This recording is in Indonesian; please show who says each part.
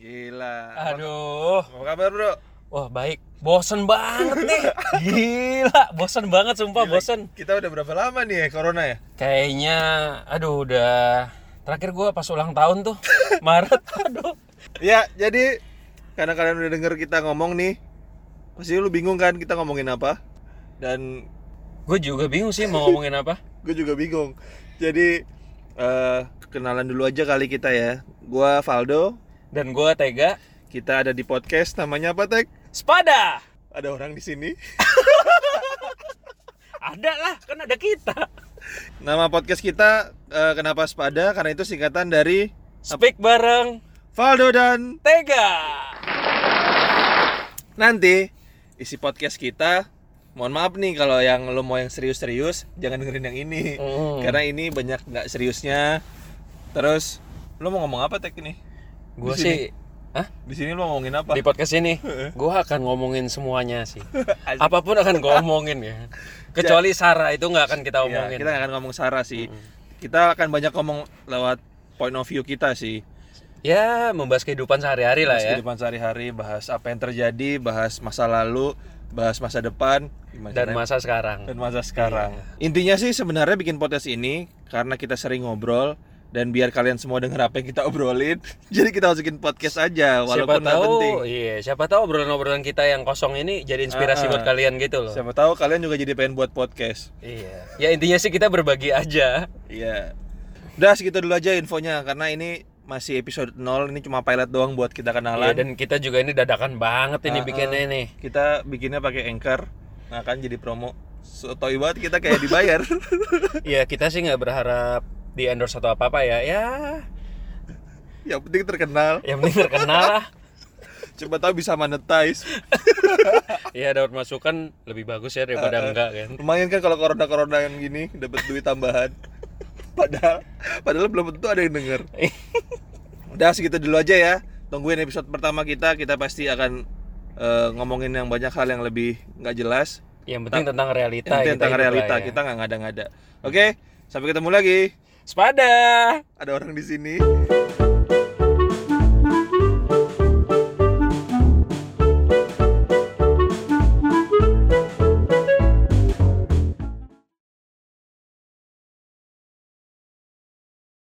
Speaker 1: Gila.
Speaker 2: Aduh.
Speaker 1: Apa kabar, Bro?
Speaker 2: Wah, baik. Bosen banget nih. Gila, bosen banget sumpah,
Speaker 1: Gila,
Speaker 2: bosen.
Speaker 1: Kita udah berapa lama nih ya corona ya?
Speaker 2: Kayaknya aduh udah terakhir gua pas ulang tahun tuh Maret. Aduh.
Speaker 1: Ya, jadi karena kalian udah denger kita ngomong nih, pasti lu bingung kan kita ngomongin apa? Dan
Speaker 2: Gue juga bingung sih mau ngomongin apa.
Speaker 1: gue juga bingung. Jadi eh kenalan dulu aja kali kita ya. Gua Valdo,
Speaker 2: Dan gua Tega
Speaker 1: kita ada di podcast namanya apa, Tek?
Speaker 2: Spada.
Speaker 1: Ada orang di sini.
Speaker 2: Ada lah, kan ada kita.
Speaker 1: Nama podcast kita eh, kenapa Sepada? Karena itu singkatan dari
Speaker 2: Speak bareng
Speaker 1: Valdo dan
Speaker 2: Tega.
Speaker 1: nanti isi podcast kita mohon maaf nih kalau yang lo mau yang serius-serius jangan dengerin yang ini
Speaker 2: Hmm.
Speaker 1: karena ini banyak nggak seriusnya terus lo mau ngomong apa tek ini
Speaker 2: Gua
Speaker 1: Di
Speaker 2: sih Hah?
Speaker 1: di sini lo ngomongin apa Iya,
Speaker 2: Di podcast ini gua akan ngomongin semuanya sih.
Speaker 1: Asik.
Speaker 2: Apapun akan gua omongin ya. Kecuali Sarah itu nggak akan kita
Speaker 1: Ya,
Speaker 2: omongin.
Speaker 1: kita nggak akan ngomong Sarah sih
Speaker 2: Hmm.
Speaker 1: kita akan banyak ngomong lewat point of view kita sih
Speaker 2: ya membahas kehidupan sehari-hari lah
Speaker 1: bahas
Speaker 2: ya
Speaker 1: kehidupan sehari-hari bahas apa yang terjadi bahas masa lalu bahas masa depan gimana
Speaker 2: dan masa
Speaker 1: dan
Speaker 2: sekarang
Speaker 1: masa sekarang. Iya. Intinya sih sebenarnya bikin podcast ini karena kita sering ngobrol dan biar kalian semua denger apa yang kita obrolin. Jadi kita masukin podcast aja
Speaker 2: siapa
Speaker 1: walaupun nggak
Speaker 2: tahu
Speaker 1: penting.
Speaker 2: iya siapa tahu obrolan-obrolan kita yang kosong ini jadi inspirasi
Speaker 1: Ah.
Speaker 2: buat kalian gitu loh
Speaker 1: Siapa tahu kalian juga jadi pengen buat podcast.
Speaker 2: iya ya intinya sih kita berbagi aja
Speaker 1: Iya. Udah segitu dulu aja infonya karena ini masih episode 0 ini cuma pilot doang buat kita
Speaker 2: Iya,
Speaker 1: kenalan. Ah,
Speaker 2: dan kita juga ini dadakan banget ini bikinnya nih
Speaker 1: Kita bikinnya pakai Anchor. Nah, kan jadi promo. Sotoi banget kita kayak dibayar.
Speaker 2: Iya kita sih nggak berharap di endorse atau apa apa ya ya
Speaker 1: yang penting terkenal.
Speaker 2: yang penting terkenal lah
Speaker 1: Coba tahu bisa monetize.
Speaker 2: Iya dapat masukan lebih bagus ya
Speaker 1: Ah,
Speaker 2: daripada enggak kan
Speaker 1: lumayan kan kalau corona corona yang gini dapat duit tambahan padahal padahal belum tentu ada yang denger udah segitu dulu aja ya tungguin episode pertama kita kita pasti akan eh, ngomongin yang banyak hal yang lebih nggak jelas
Speaker 2: yang penting tentang realita
Speaker 1: Yang
Speaker 2: yang
Speaker 1: penting tentang
Speaker 2: kita hidup
Speaker 1: realita
Speaker 2: lah ya.
Speaker 1: kita nggak ngada-ngada oke sampai ketemu lagi
Speaker 2: sepada
Speaker 1: ada orang di sini